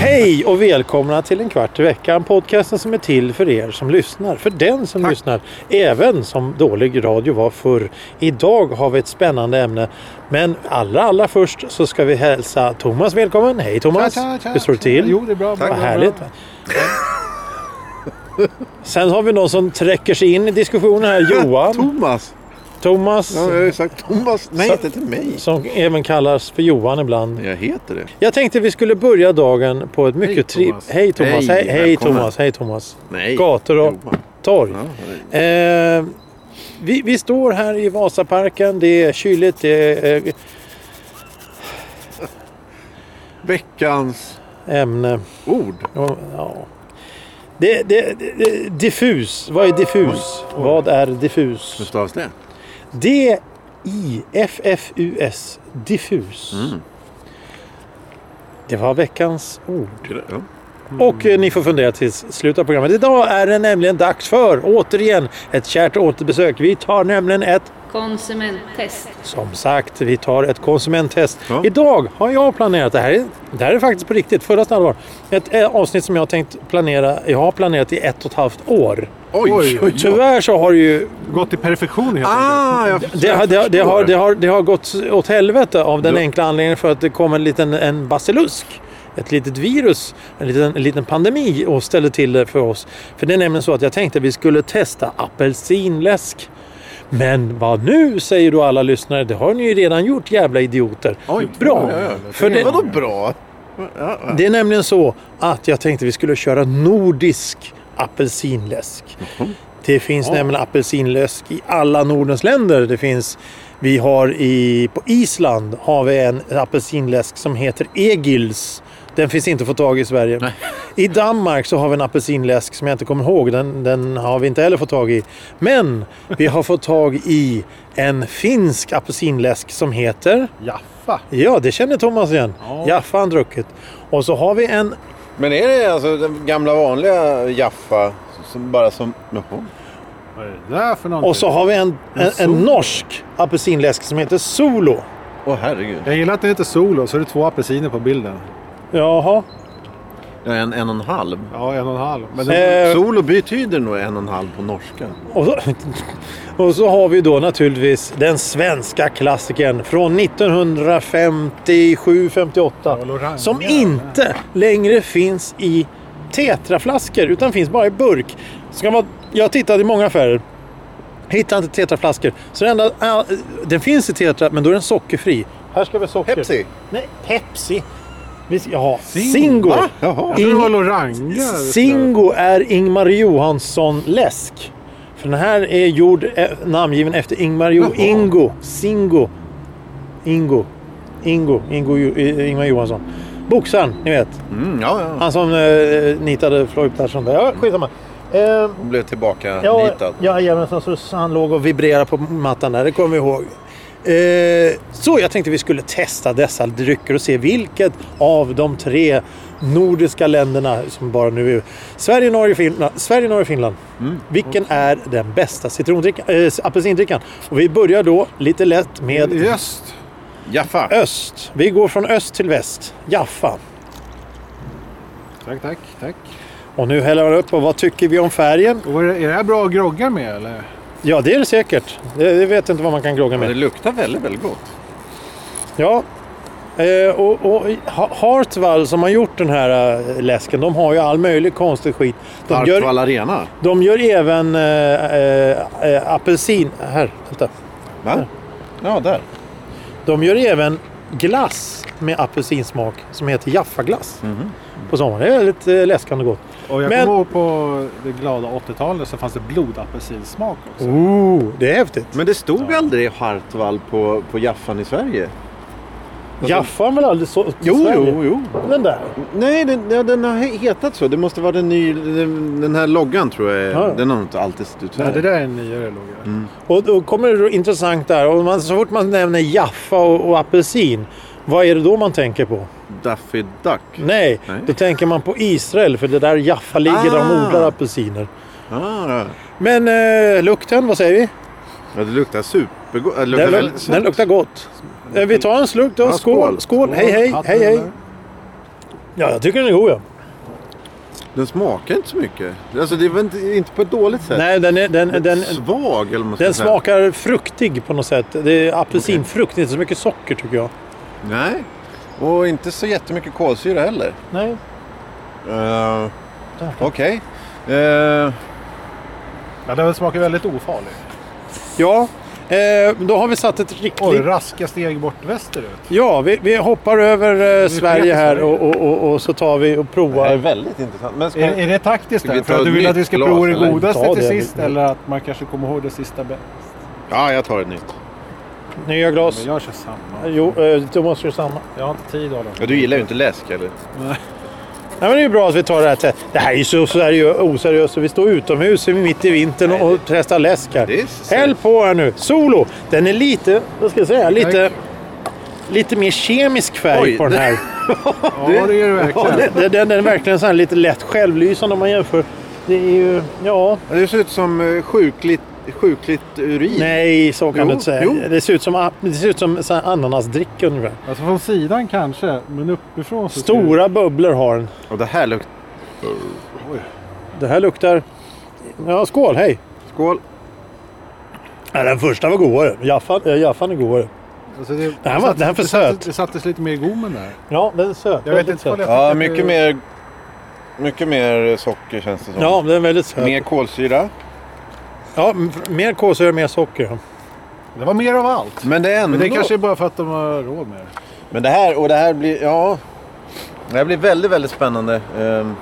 Hej och välkomna till en kvart i veckan. Podcasten som är till för er som lyssnar. För den som lyssnar. Även som dålig radio var förr. Idag har vi ett spännande ämne. Men allra, allra först så ska vi hälsa Thomas välkommen. Hej Thomas! Tja, tja, tja. Hur står det till? Jo, det är bra. bra, Vad bra, härligt. Bra. Sen har vi någon som träcker sig in i diskussionen här. Johan. Thomas. Thomas. Ja, jag har ju sagt Thomas. Nej, Så- inte till mig. Som även kallas för Johan ibland. Jag heter det. Jag tänkte vi skulle börja dagen på ett mycket Thomas. trevligt... Hej Thomas! Hej, Hej, hej välkommen. Thomas! Hej Thomas! Nej. Gator och Johan. torg. Ja, det- Eh, vi, vi står här i Vasaparken. Det är kyligt. Det är eh, Veckans ämne. ord. Och, Ja. Det, det, det, det, diffus. Vad är diffus? Vad är Hur diffus? stavas det? D-I-F-F-U-S. Diffus. Mm. Det var veckans ord. Ja. Och eh, ni får fundera tills slutet av programmet. Idag är det nämligen dags för, återigen, ett kärt återbesök. Vi tar nämligen ett Konsumenttest. Som sagt, vi tar ett konsumenttest. Ja. Idag har jag planerat, det här, är, det här är faktiskt på riktigt, fullaste allvar, ett eh, avsnitt som jag har tänkt planera, jag har planerat i ett och ett halvt år. Oj, oj, oj. Tyvärr så har det ju, Gått i perfektion helt Ah, jag det, har- det, har- det, har, det, har, det har gått åt helvete av den enkla anledningen för att det kom en liten en basilusk. Ett litet virus, en liten, en liten pandemi och ställde till det för oss. För det är nämligen så att jag tänkte att vi skulle testa apelsinläsk. Men vad nu, säger då alla lyssnare. Det har ni ju redan gjort, jävla idioter. Oj. bra! Ja, ja, ja. För det, Vadå bra? Ja, det är nämligen så att jag tänkte vi skulle köra nordisk apelsinläsk. Det finns nämligen apelsinläsk i alla Nordens länder. Det finns, vi har i, på Island har vi en apelsinläsk som heter Egils. Den finns inte att få tag i i Sverige. I Danmark så har vi en apelsinläsk som jag inte kommer ihåg. Den, den har vi inte heller fått tag i. Men vi har fått tag i en finsk apelsinläsk som heter... Jaffa. Ja, det känner Thomas igen. Ja. Jaffa har han druckit. Och så har vi en... Men är det alltså den gamla vanliga Jaffa? Som bara som... Jaha. Vad är det där för någonting? Och så har vi en, en, en Solo. norsk apelsinläsk som heter Solo. Åh herregud. Jag gillar att den heter Solo, så är det två apelsiner på bilden. Jaha. Ja, en, en och en halv. Ja, en och en halv. Men den... Eh, Solo betyder nog en och en halv på norska. och, så, och så har vi då naturligtvis den svenska klassikern från 1957-58. Coloranga. Som inte längre finns i tetraflaskor utan finns bara i burk. Ska man, jag har tittat i många affärer. Hittar inte tetraflaskor. Så den, enda, ah, den finns i tetra men då är den sockerfri. Här ska vi ha socker. Pepsi. Nej, Pepsi. Vi ska- Jaha, Singo. Singo. Va? Jaha. Jag tror det var Ing- Loranga. Singo är Ingmar Johansson-läsk. För den här är gjord, eh, namngiven efter Ingmar jo- Jaha. Ingo. Singo. Ingo. Ingo. Ingo jo- eh, Ingmar Johansson. Boxaren, ni vet. Mm, ja, ja. Han som eh, nitade Floyd Persson. där. Ja, skitsamma. Eh, Hon blev tillbaka Ja, nitad. jajamensan, så han låg och vibrerade på mattan där, det kommer vi ihåg. Eh, så jag tänkte vi skulle testa dessa drycker och se vilket av de tre nordiska länderna som bara nu är Sverige, Norge, Finland. Sverige, Norge, Finland. Vilken är den bästa citrondrickan, äh, apelsindrickan? Och vi börjar då lite lätt med I öst. Jaffa. öst. Vi går från öst till väst. Jaffa. Tack, tack, tack. Och nu häller han upp och vad tycker vi om färgen? Och vad är, det, är det här bra att grogga med eller? Ja, det är det säkert. Det, det vet jag inte vad man kan grogga Men med. det luktar väldigt, väldigt gott. Ja, eh, och, och Ha- Hartwall som har gjort den här eh, läsken, de har ju all möjlig konstig skit. De Hartwall gör, Arena. de gör även eh, eh, eh, apelsin... Här, vänta. Va? Ja, där. De gör även glass med apelsinsmak som heter Jaffaglass. På sommaren. Det är väldigt eh, läskande och gott. Och jag Men- kommer ihåg på det glada 80-talet så fanns det blodapelsinsmak också. Mm. Oh, det är häftigt. Men det stod aldrig Hartwall på, på Jaffan i Sverige? Jaffa har väl aldrig så... Jo, Sverige? jo, jo. Den där. Nej, den, ja, den har he- hetat så. Det måste vara den ny... Den, den här loggan tror jag. Ja, ja. Den har inte alltid stått Nej, det där. där är en nyare logga. Mm. Och då kommer det intressant där. Och man, så fort man nämner Jaffa och, och apelsin. Vad är det då man tänker på? Daffy Duck. Nej, Nej. då tänker man på Israel för det är där Jaffa ligger där de Ah. odlar apelsiner. Ah, Men eh, lukten, vad säger vi? ja, det luktar supergott. Det luktar Den, väl... luk- den luktar gott. Eh, Vi tar en slurk då. Ja, Skål! skål. Skål! Hej hej! Hatten Hej hej! eller? Ja, jag tycker den är god ja. Den smakar inte så mycket. Alltså det är väl inte, inte på ett dåligt sätt. Nej, den, är, den, den, Svag eller vad man ska den säga. smakar fruktig på något sätt. Det är apelsinfrukt, inte så mycket socker tycker jag. Nej. Och inte så jättemycket kolsyra heller. Nej. Eh, Okej. Eh, Ja, den smakar väldigt ofarlig. Ja, eh, då har vi satt ett riktigt... Oj, raska steg bort västerut. Ja, vi, vi hoppar över eh, Sverige till här Sverige. och, och, och, och så tar vi och det här är provar. väldigt intressant. Men ska... Är, är det taktiskt Ska vi där? För ta att du ett vill att nytt vi ska glas, prova det eller? Ta godaste det. till sist? Eller att man kanske kommer ihåg det sista bäst? Ja, jag tar ett nytt. Nya glas. Men jag kör samma. Jo, eh, Thomas gör samma. Jag har inte tid att hålla Ja, du gillar ju inte läsk eller? Nej, men det är ju bra att vi tar det här. te- Det här är ju så seriö- oseriöst. Vi står utomhus mitt i vintern och, och testar läsk här. Det är så- Häll på här nu. Solo. Den är lite, vad ska jag säga, lite, lite mer kemisk färg Oj, på den det- här. Ja, det gör du verkligen. Den, den, den är verkligen så här lite lätt självlysande om man jämför. Det är ju, ja, Ja, Det ser ut som eh, sjukligt, sjukligt urin. nej så kan Jo, du inte säga. jo. Det ser ut som, ap- det ser ut som så här ananasdricka ungefär. Alltså från sidan kanske, men uppifrån så... Stora bubblor har den. Och det här luktar... Det här luktar... Ja, skål, hej! Skål. Ja, den första var godare. Jaffan, äh, Jaffan är godare. Alltså, det, här var- det här är för det sattes- söt. Det sattes lite mer i gommen där. Ja, den är söt. Jag vet inte vad det är. Ja, mycket mer, mycket mer socker känns det som. Ja, den är väldigt söt. Mer kolsyra. Ja, m- f- mer kolsyra, mer socker. Det var mer av allt. Men det är ändå... Men det Mm. kanske är bara för att de har råd med det. Men det här, och det här blir... Ja. Det här blir väldigt, väldigt spännande. Ehm,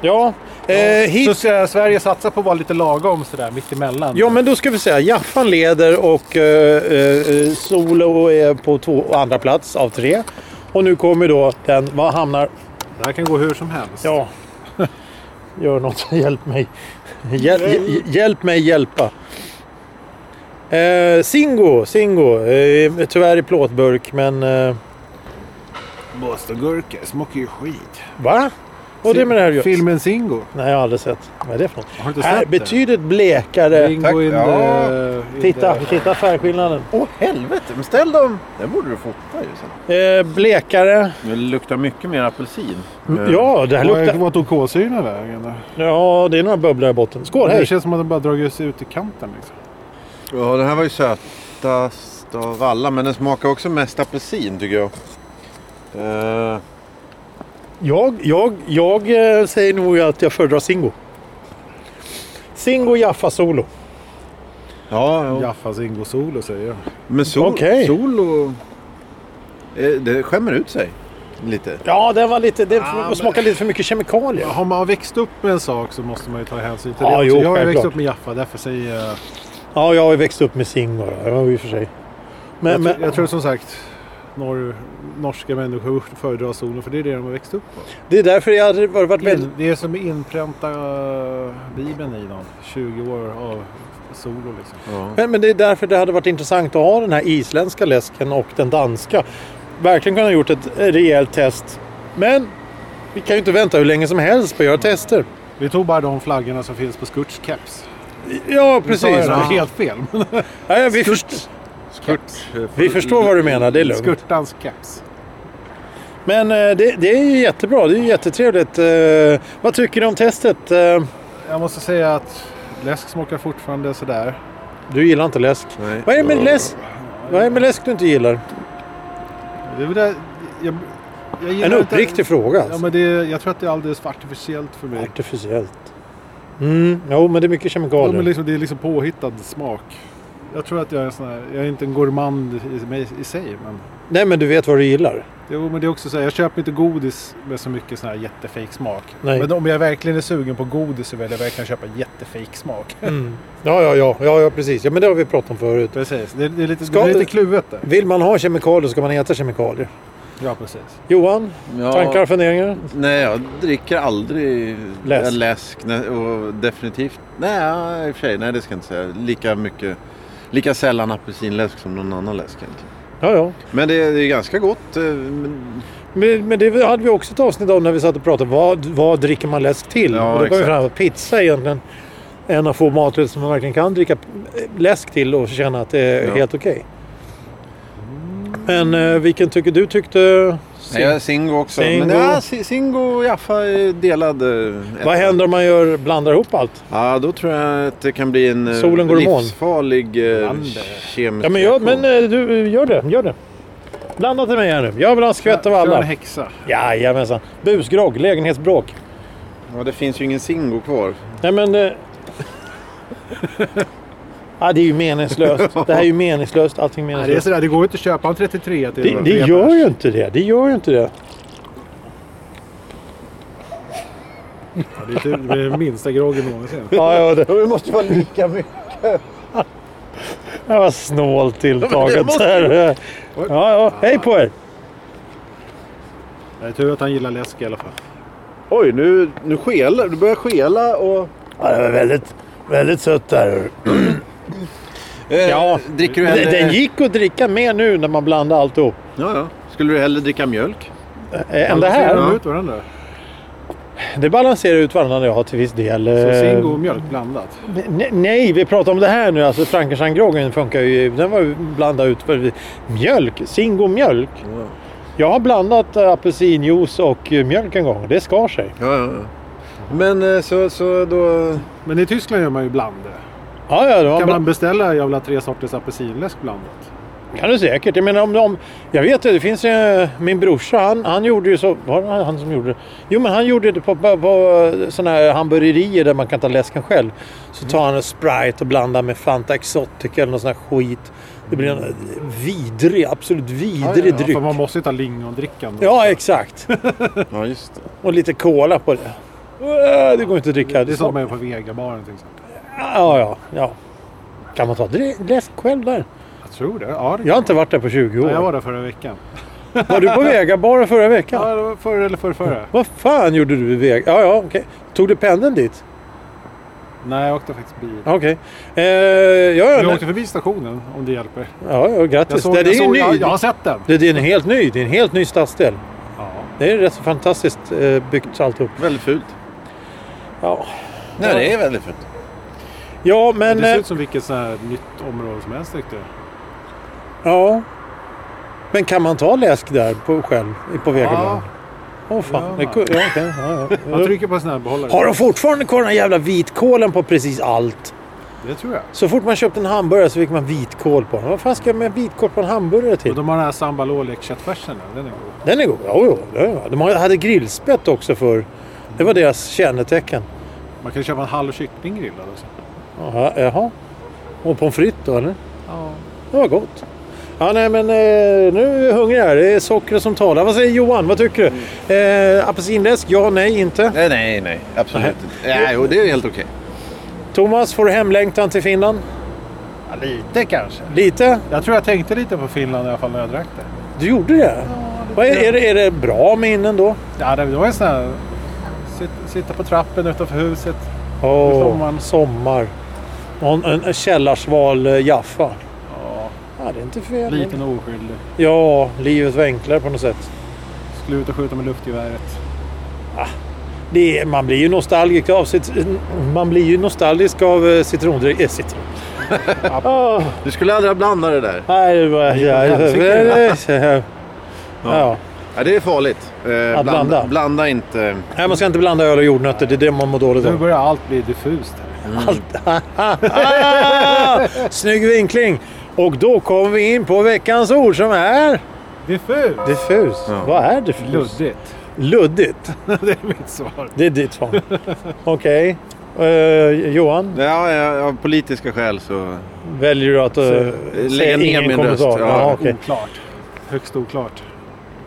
Ja, eh, hit... Så ska Sverige satsa på att vara lite lagom sådär mittemellan. Ja, men då ska vi säga Jaffan leder och eh, eh, Solo är på två, andra plats av tre. Och nu kommer då den, vad hamnar... Det här kan gå hur som helst. Ja, gör något, hjälp mig. Hjäl, hj- hjälp mig hjälpa. Eh, Singo, Singo. Eh, tyvärr i plåtburk, men... Eh, Bostongurkor smakar ju skit. va? Vad är det med det här just? Filmen Singo. Nej, jag har aldrig sett. Vad är det för något? Har du inte Här, sett betydligt blekare. det? Singo Tack. in the- Ja. in Titta, the- titta färgskillnaden. Åh helvete, men ställ dem! Den borde du fota ju sen. Eh, blekare. Det luktar mycket mer apelsin. Mm. Ja, det här Var- luktar... Vart tog kolsyran vägen? då? Ja, det är några bubblor i botten. Skål, Det hej! känns som att den bara dragits ut i kanten. Liksom. Ja, den här var ju sötast av alla, men den smakar också mest apelsin tycker jag. Eh, Jag, jag, jag eh, säger nog att jag föredrar Singo. Singo Jaffa Solo. ja, ja. Jaffa Singo Solo säger jag. men sol, Okej. solo... Eh, det skämmer ut sig lite. Ja, den var lite... Det Ah, men- smakar lite för mycket kemikalier. Har man växt upp med en sak så måste man ju ta hänsyn till Ja, det. jo, också. jag har ju växt självklart. upp med Jaffa, därför säger jag... Ja, jag har ju växt upp med Singo. då, ja, i och för sig. jag, Men, tror- men, jag tror som sagt norr, norska människor föredrar solen för det är det de har växt upp på. det är därför jag hade varit väldigt... In, det är som att inpränta eh, Bibeln i dem. 20 år av solo liksom. Ja. Men, men det är därför det hade varit intressant att ha den här isländska läsken och den danska. Verkligen kunnat gjort ett rejält test. Men vi kan ju inte vänta hur länge som helst på att göra tester. Vi tog bara de flaggorna som finns på Skurts keps. Ja, Det precis. är Ja. helt fel. men Ja, vi, först, vi förstår vad du menar, eh, det är lugnt. Skurtans keps. Men eh, det, det är ju jättebra, det är ju jättetrevligt. Eh, Vad tycker du om testet? Eh, Jag måste säga att läsk smakar fortfarande sådär. Du gillar inte läsk. Nej. Vad är det med läsk? Vad är det med läsk du inte gillar? Det är väl det, jag, jag gillar En inte- uppriktig fråga. Ja, Alltså. men det, är- jag tror att det är alldeles artificiellt för mig. Artificiellt. Mm, jo, men det är mycket Ja, men kemikalier. liksom, det är liksom påhittad smak. Jag tror att jag är en sån här, jag är inte en gourmand i, mig- i sig. Men, Nej, men du vet vad du gillar. jo, men det är också så här, jag köper inte godis med så mycket sån här jättefejk smak. Nej. Men om jag verkligen är sugen på godis så vill jag verkligen köpa jättefejk smak. Mm. Ja, ja, ja, ja, ja, precis. Ja, men det har vi pratat om förut. Precis, det, är- det, är lite, Ska- det är lite kluvet där. Vill man ha kemikalier ska man äta kemikalier. Ja, precis. Johan, Ja. tankar, funderingar? Nej, jag dricker aldrig Läsk. läsk. läsk nej, och definitivt, nej i och för sig, nej det ska jag inte säga. Lika mycket, lika sällan apelsinläsk som någon annan läsk egentligen. Ja, ja. Men det är, det är ganska gott. eh, men- Men, men det hade vi också ett avsnitt av när vi satt och pratade. Vad, vad dricker man läsk till? och Ja, då kom vi exakt. fram att pizza är egentligen en av få maträtter som man verkligen kan dricka eh, läsk till och känna att det är Ja. helt okej. Men eh, vilken tycker du tyckte... Nej, jag är Singo också. Singo. Men ja, Si- Singo och Jaffa är delad. eh, etta. Vad händer om man gör, blandar ihop allt? Ja, då tror jag att det kan bli en eh, Solen går i moln. livsfarlig eh, Bland det. kemisk Ja, men, jag, reaktion. men eh, du, gör det. Gör det. Blanda till mig här nu. Jag vill ha en skvätt av Kör en alla. häxa. Jajamensan. Busgrogg, lägenhetsbråk. Ja, det finns ju ingen Singo kvar. Nej men... Eh... ja, det är ju meningslöst. Det här är ju meningslöst. Allting är Nej, det, är meningslöst. sådär, det går ju inte att köpa en 33 till Det, det tre gör pers. ju inte det. Det gör ju inte det. Ja, Det är typ den minsta groggen någonsin. Ja, ja, det Det måste vara lika mycket. det var snålt Ja, men det tilltaget. måste Där. Ja, ja. Hej på er! Det är tur att han gillar läsk i alla fall. Oj, nu, nu skelar Du börjar skela och... Ja, det var väldigt, väldigt sött där. Eh, Ja. Dricker du eh, hellre... Den, den gick att dricka mer nu när man blandade alltihop. Ja, ja. Skulle du hellre dricka mjölk? eh, Än det Balanserar här. de ut varandra. Eh. Det balanserar ut varandra ja, till viss del. Så Eh, Singo och mjölk blandat. Ne- Nej, vi pratar om det här nu. Alltså Frankensteingroggen funkar ju. Den var ju blandad ut för mjölk. Singo mjölk. Jag har blandat eh, apelsinjuice och eh, mjölk en gång. Det skar sig. Ja, ja. ja. Men eh, så, så då... Men i Tyskland gör man ju blandade. Ja, ja, det var Kan bra. man beställa jävla tre sorters apelsinläsk blandat? kan du säkert. Jag menar om, om Jag vet det. Det finns eh, min brorsa. Han, han gjorde ju så. Var det han som gjorde det? Jo, men han gjorde det på, på, på sådana här hamburgerier där man kan ta läsken själv. Så tar han en Sprite och blandar med Fanta Exotic eller någon sån här skit. Det blir en vidrig, absolut vidrig Ja, dryck. för Alltså, man måste ju ta lingondrickan. då. Ja, exakt. Ja, just det. Och lite cola på det. Äh, Det går inte att dricka. Det är så- sånt man gör på vegabaren till exempel. Ja, ja, ja. Kan man ta dre- läsk själv där? Jag tror det. Ja, det Jag har inte varit där på 20 år. Nej, jag var... var där förra veckan. du på Vegabaren förra veckan? Ja, det var förra eller förra, förra. Vad fan gjorde du i Vega? Ja, ja, okej. Tog du pendeln dit? Nej, jag åkte faktiskt bil. Ja, Okej. Eh, ja, ja, Vi nej. åkte förbi stationen om det hjälper. ja, ja, Jag, grattis. såg, det, jag, det, är såg, ju jag, ny. jag har sett den. Det, det är en helt ny. Det är en helt ny stadsdel. Ja. Det är rätt så fantastiskt eh, byggt alltihop. Väldigt fult. Ja, Nej, det är väldigt fult. ja men... det ser eh, ut som vilket sånt här nytt område som helst tyckte jag. eh, Ja. Men kan man ta läsk där på, själv på Vegabaren? Åh fan. Ja, det, man. ku- ja, okej. ja, ja. Man trycker på en sån här behållare. Har de fortfarande kvar den här jävla vitkålen på precis allt? Det tror jag. Så fort man köpte en hamburgare så fick man vitkål på den. Vad fan ska jag med vitkål på en hamburgare Och till? de har den här sambalolek köttfärsen där. Den är god. Den är god. Jo, jo. det är- De hade grillspett också för Det var deras kännetecken. Man kan köpa en halv kyckling grillad också. Jaha. jaha. Och pommes frites då eller? Ja. Det var gott. Ja, nej, men eh, nu är jag hungrig här. Det är sockret som talar. Vad säger Johan? Vad tycker du? Eh, apelsinläsk? Ja, nej, inte. Nej, nej, nej. Absolut inte. Nej, och det är helt okej. Thomas, får du hemlängtan till Finland? ja, lite kanske. Lite? Jag tror jag tänkte lite på Finland i alla fall när jag drack det. Du gjorde det? Vad är, är, det, är det bra minnen då? Ja, det var en sån här... Sitta, sitta på trappen utanför huset. Åh, sommaren. sommar. Någon, en, en källarsval eh, Jaffa. Ja, Ja, det är inte fel. liten och oskyldig. Ja, livet var enklare på något sätt. Skulle ut och skjuta med luftgeväret. Det är, man blir ju nostalgisk av, sitt, man blir ju nostalgisk av eh, citrondryck. Äh, citron. Ah, Du skulle aldrig ha blandat det där. nej, det var, ja, ja, ja. Ja, det är farligt. Eh, Att blanda. Blanda inte. Nej, man ska inte blanda öl och jordnötter. Det är det man mår dåligt Nu av. börjar allt bli diffust här. Ah, snygg vinkling! Och då kommer vi in på veckans ord som är Diffust? diffus. Ja. Vad är diffus? Luddigt. Luddigt. det är mitt svar. Det är ditt svar. Okej. Eh, Johan, Ja, ja, av politiska skäl så... väljer du att uh, säga lägga ner ingen min kommentar? röst, ja. Ja, okej. Oklart. Högst oklart.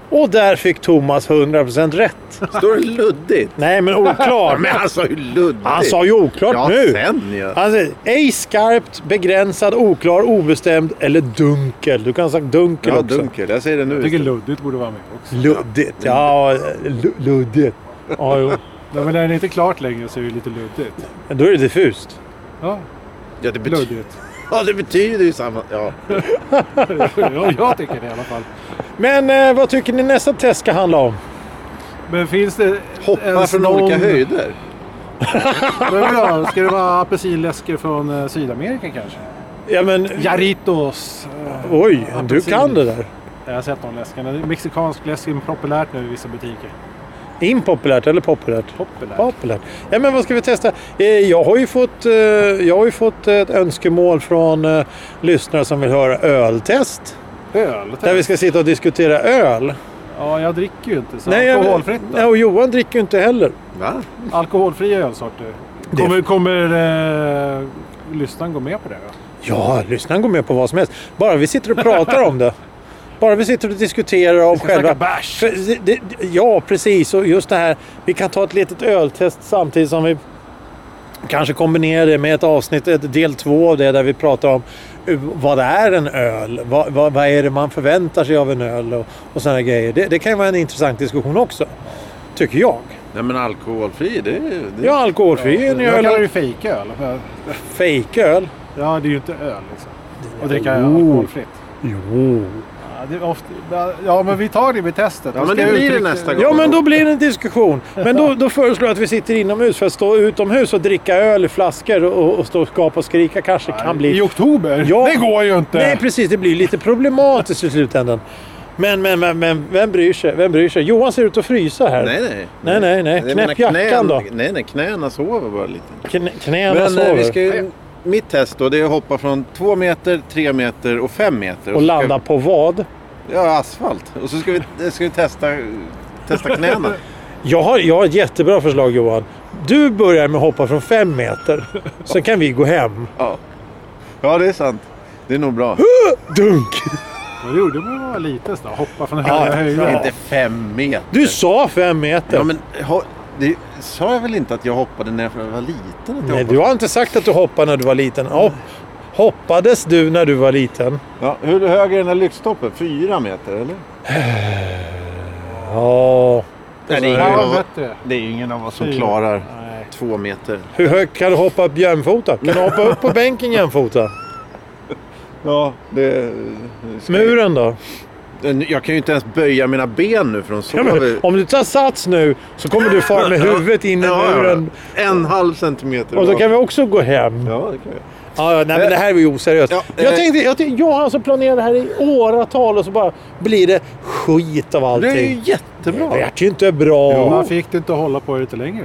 Och där fick Thomas 100% rätt. Står det luddigt? Nej, men oklart. Men han sa ju luddigt. Han sa ju oklart ja, nu. sen ju. Han säger ej skarpt, begränsad, oklar, obestämd eller dunkel. Du kan ha sagt dunkel Ja, också. dunkel. Jag säger det Jag tycker nu. luddigt borde vara med också. Luddigt. Ja, lu- luddigt. Ja, jo. Nej, men när det inte är klart längre så är det lite luddigt. Då är det diffust. Ja, Ja, det betyder... luddigt. ja, det betyder ju samma. Ja. ja, jag tycker det i alla fall. Men eh, vad tycker ni nästa test ska handla om? Men finns det Hoppa ens från någon- olika höjder. Men vadå, ska det vara apelsinläsker från eh, Sydamerika kanske? Ja, men, Jarritos. Eh, Oj, du apelsin. kan det där. Jag har sett de läskarna. Mexikansk läsk är populärt nu i vissa butiker. Impopulärt eller populärt? Populärt. Populärt. Ja, men vad ska vi testa? Eh, Jag har ju fått, eh, jag har ju fått ett önskemål från eh, lyssnare som vill höra öltest. Öl? Där vi ska sitta och diskutera öl. Ja, jag dricker ju inte. Så Nej, jag- alkoholfritt då? Nej, och Johan dricker ju inte heller. Va? Alkoholfria ölsorter. Det- Kommer, kommer eh, lyssnaren gå med på det? Då? Ja, lyssnaren går med på vad som helst. Bara vi sitter och pratar om det. Bara vi sitter och diskuterar om Ska snacka själva... bärs? För det, det, ja, precis. Och just det här, vi kan ta ett litet öltest samtidigt som vi kanske kombinerar det med ett avsnitt, ett del två av det, där vi pratar om eh, vad är en öl? Vad, vad, vad är det man förväntar sig av en öl? Och, och sådana grejer. Det, det kan ju vara en intressant diskussion också. Tycker jag. Nej men alkoholfri, det, är- det... Ja, alkoholfri en Jag kallar öl. det fejköl. Fejköl. Ja, det är ju inte öl liksom. Att dricka Jo. alkoholfritt. Jo. Ja, det är ofta, ja, men vi tar det vid testet. Ja, men Ska det blir det uttrycka- nästa gång. Ja, men då blir det en diskussion. Men då, då föreslår jag att vi sitter inomhus för att stå utomhus och dricka öl i flaskor och, och stå och skapa och skrika kanske kan bli... I oktober? Ja. Det går ju inte! Nej, precis. Det blir lite problematiskt i slutändan. Men, men, men, men vem bryr sig? Vem bryr sig? Johan ser ut att frysa här. Nej, nej. Nej, nej, nej. Jag Knäpp menar, jackan då. Nej, nej. Knäna sover bara lite. Kn knäna Men eh, sover. vi ska ju, mitt test då, det är att hoppa från två meter, tre meter och fem meter. Och så ska- landa på vad? Ja, asfalt. Och så ska vi, eh, ska vi testa, testa knäna. Jag har, jag har ett jättebra förslag Johan. Du börjar med att hoppa från fem meter. Sen kan vi gå hem. ja. ja, det är sant. Det är nog bra. Dunk! Men Det gjorde man när man var liten. Så hoppa från höga höjder. Inte fem meter. Du sa fem meter. Ja, men ha, det sa jag väl inte att jag hoppade när jag var liten? Att jag Nej, hoppade? du har inte sagt att du hoppade när du var liten. Hopp, hoppades du när du var liten? Ja, hur hög är den här lyktstolpen? Fyra meter, eller? Ja. Nej, det, är Ja, ingen vad av, hette det? det är ingen av oss som Fyra. klarar Nej. två meter. Hur högt kan du hoppa upp jämfota? Kan du hoppa upp på bänken jämfota? Ja, det... Muren då? Jag kan ju inte ens böja mina ben nu för de Ja, men, sover. om du tar sats nu så kommer du fara med huvudet in i Ja, ja. muren. En halv centimeter. Och då bak. kan vi också gå hem. Ja, det kan jag. Ja, ja, nej, men det här är ju oseriöst. Ja, eh. jag tänkte, jag, tänkte- jag har alltså planerat det här i åratal och så bara blir det skit av Det är ju allting. Det jättebra. vart ju inte bra. Man fick det inte hålla på det lite längre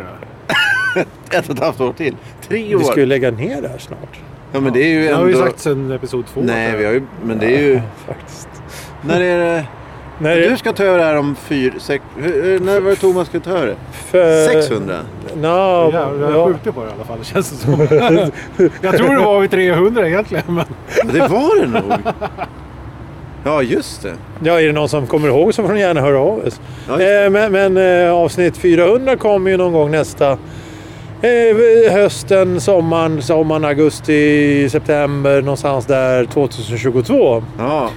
då? Ett och ett halvt år till. Tre år. Vi ska ju lägga ner det här snart. Ja, men det är ju Det ändå... har vi sagt sedan episod två. Nej, vi har ju... Men det är ju... Faktiskt. När är det... När är Du det ska ta över det här om fyra... Sex... hur- hur- När var det Thomas ska ta över det? för... 600? Nå, Jävlar, ja. jag skjuter på det i alla fall. Det känns som. jag tror det var vid 300 egentligen. Men Ja, Det var det nog. Ja, just det. Ja, är det någon som kommer ihåg så får de gärna höra av oss. Ja, just Eh, men men eh, avsnitt 400 kommer ju någon gång nästa eh, hösten, sommaren, sommaren, augusti, september någonstans där 2022. Ja,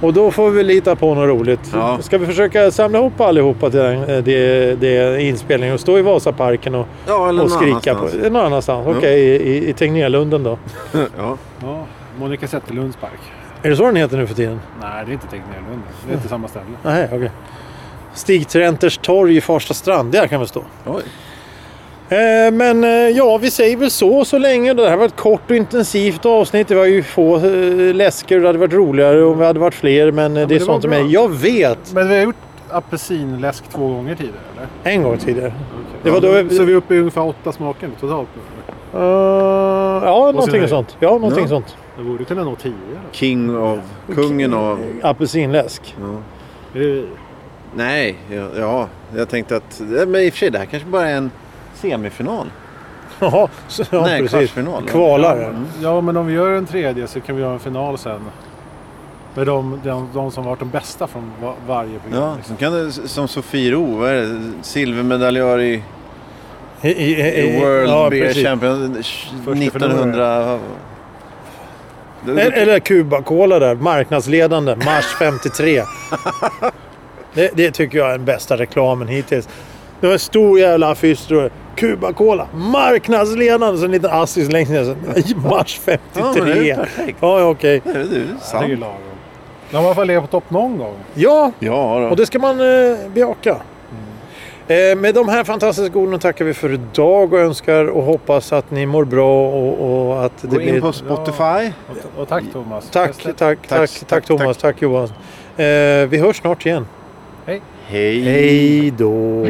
Och då får vi lita på något roligt. Ja. Ska vi försöka samla ihop allihopa till den eh, det, det inspelningen och stå i Vasaparken och, ja eller och någon skrika på annanstans. någon annanstans? Okej, i, i, i Tegnérlunden då. Ja. ja, Monica Zetterlunds park. Är det så den heter nu för tiden? Nej, det är inte Tegnérlunden. Det är inte samma ställe. Nej, okej. Stig Trenters torg i Farsta strand, där kan vi stå. Oj. Eh, Men eh, ja, vi säger väl så så länge. Det här var ett kort och intensivt avsnitt. Det var ju få eh, läsker och det hade varit roligare om vi hade varit fler. Men eh, det är det var sånt som bra. är. Jag vet Men vi har gjort apelsinläsk två gånger tidigare eller? en gång tidigare. Det Det var var då vi- Så vi är uppe i ungefär åtta smaker totalt nu. Eh, ja, någonting höjd. sånt. Ja, någonting Ja. sånt. Det borde kunna nå tio. Eller? King av... Kungen av... Apelsinläsk. Ja. Är det- Nej, ja, ja. Jag tänkte att... ja, Men i och för sig, det här kanske bara är en semifinal. Jaha, så, ja, Nej, precis. kvartsfinal. Kvalar. Ja, men om vi gör en tredje så kan vi göra en final sen. Med de, de, de som varit de bästa från va- varje program. Ja, som, liksom. kan, det- som Sofie Roh, vad är det? silvermedaljör i, I, i, i i- World ja, Beer precis. Champion förlorare. 1900... Eller- Eller Cuba-Cola där. Marknadsledande. Mars 53. det, det tycker jag är den bästa reklamen hittills. Det var en stor jävla affisch. tror jag. Cuba Cola. Marknadsledande! Så en liten assis längst ner. så, I mars 53. Ja, perfekt. ja okej. Det är ju Det är ju sant. lagom. När man får ligga på topp någon gång. Ja, Ja, då. och det ska man eh, bejaka. Mm. Eh, med de här fantastiska orden tackar vi för idag och önskar och hoppas att ni mår bra och, och att det Gå blir... in på Spotify. Och, och tack Thomas. Tack, Bästa- tack, tack, tack, tack, Thomas, tack, Johan. Eh, vi hörs snart igen. Hej. Hej då!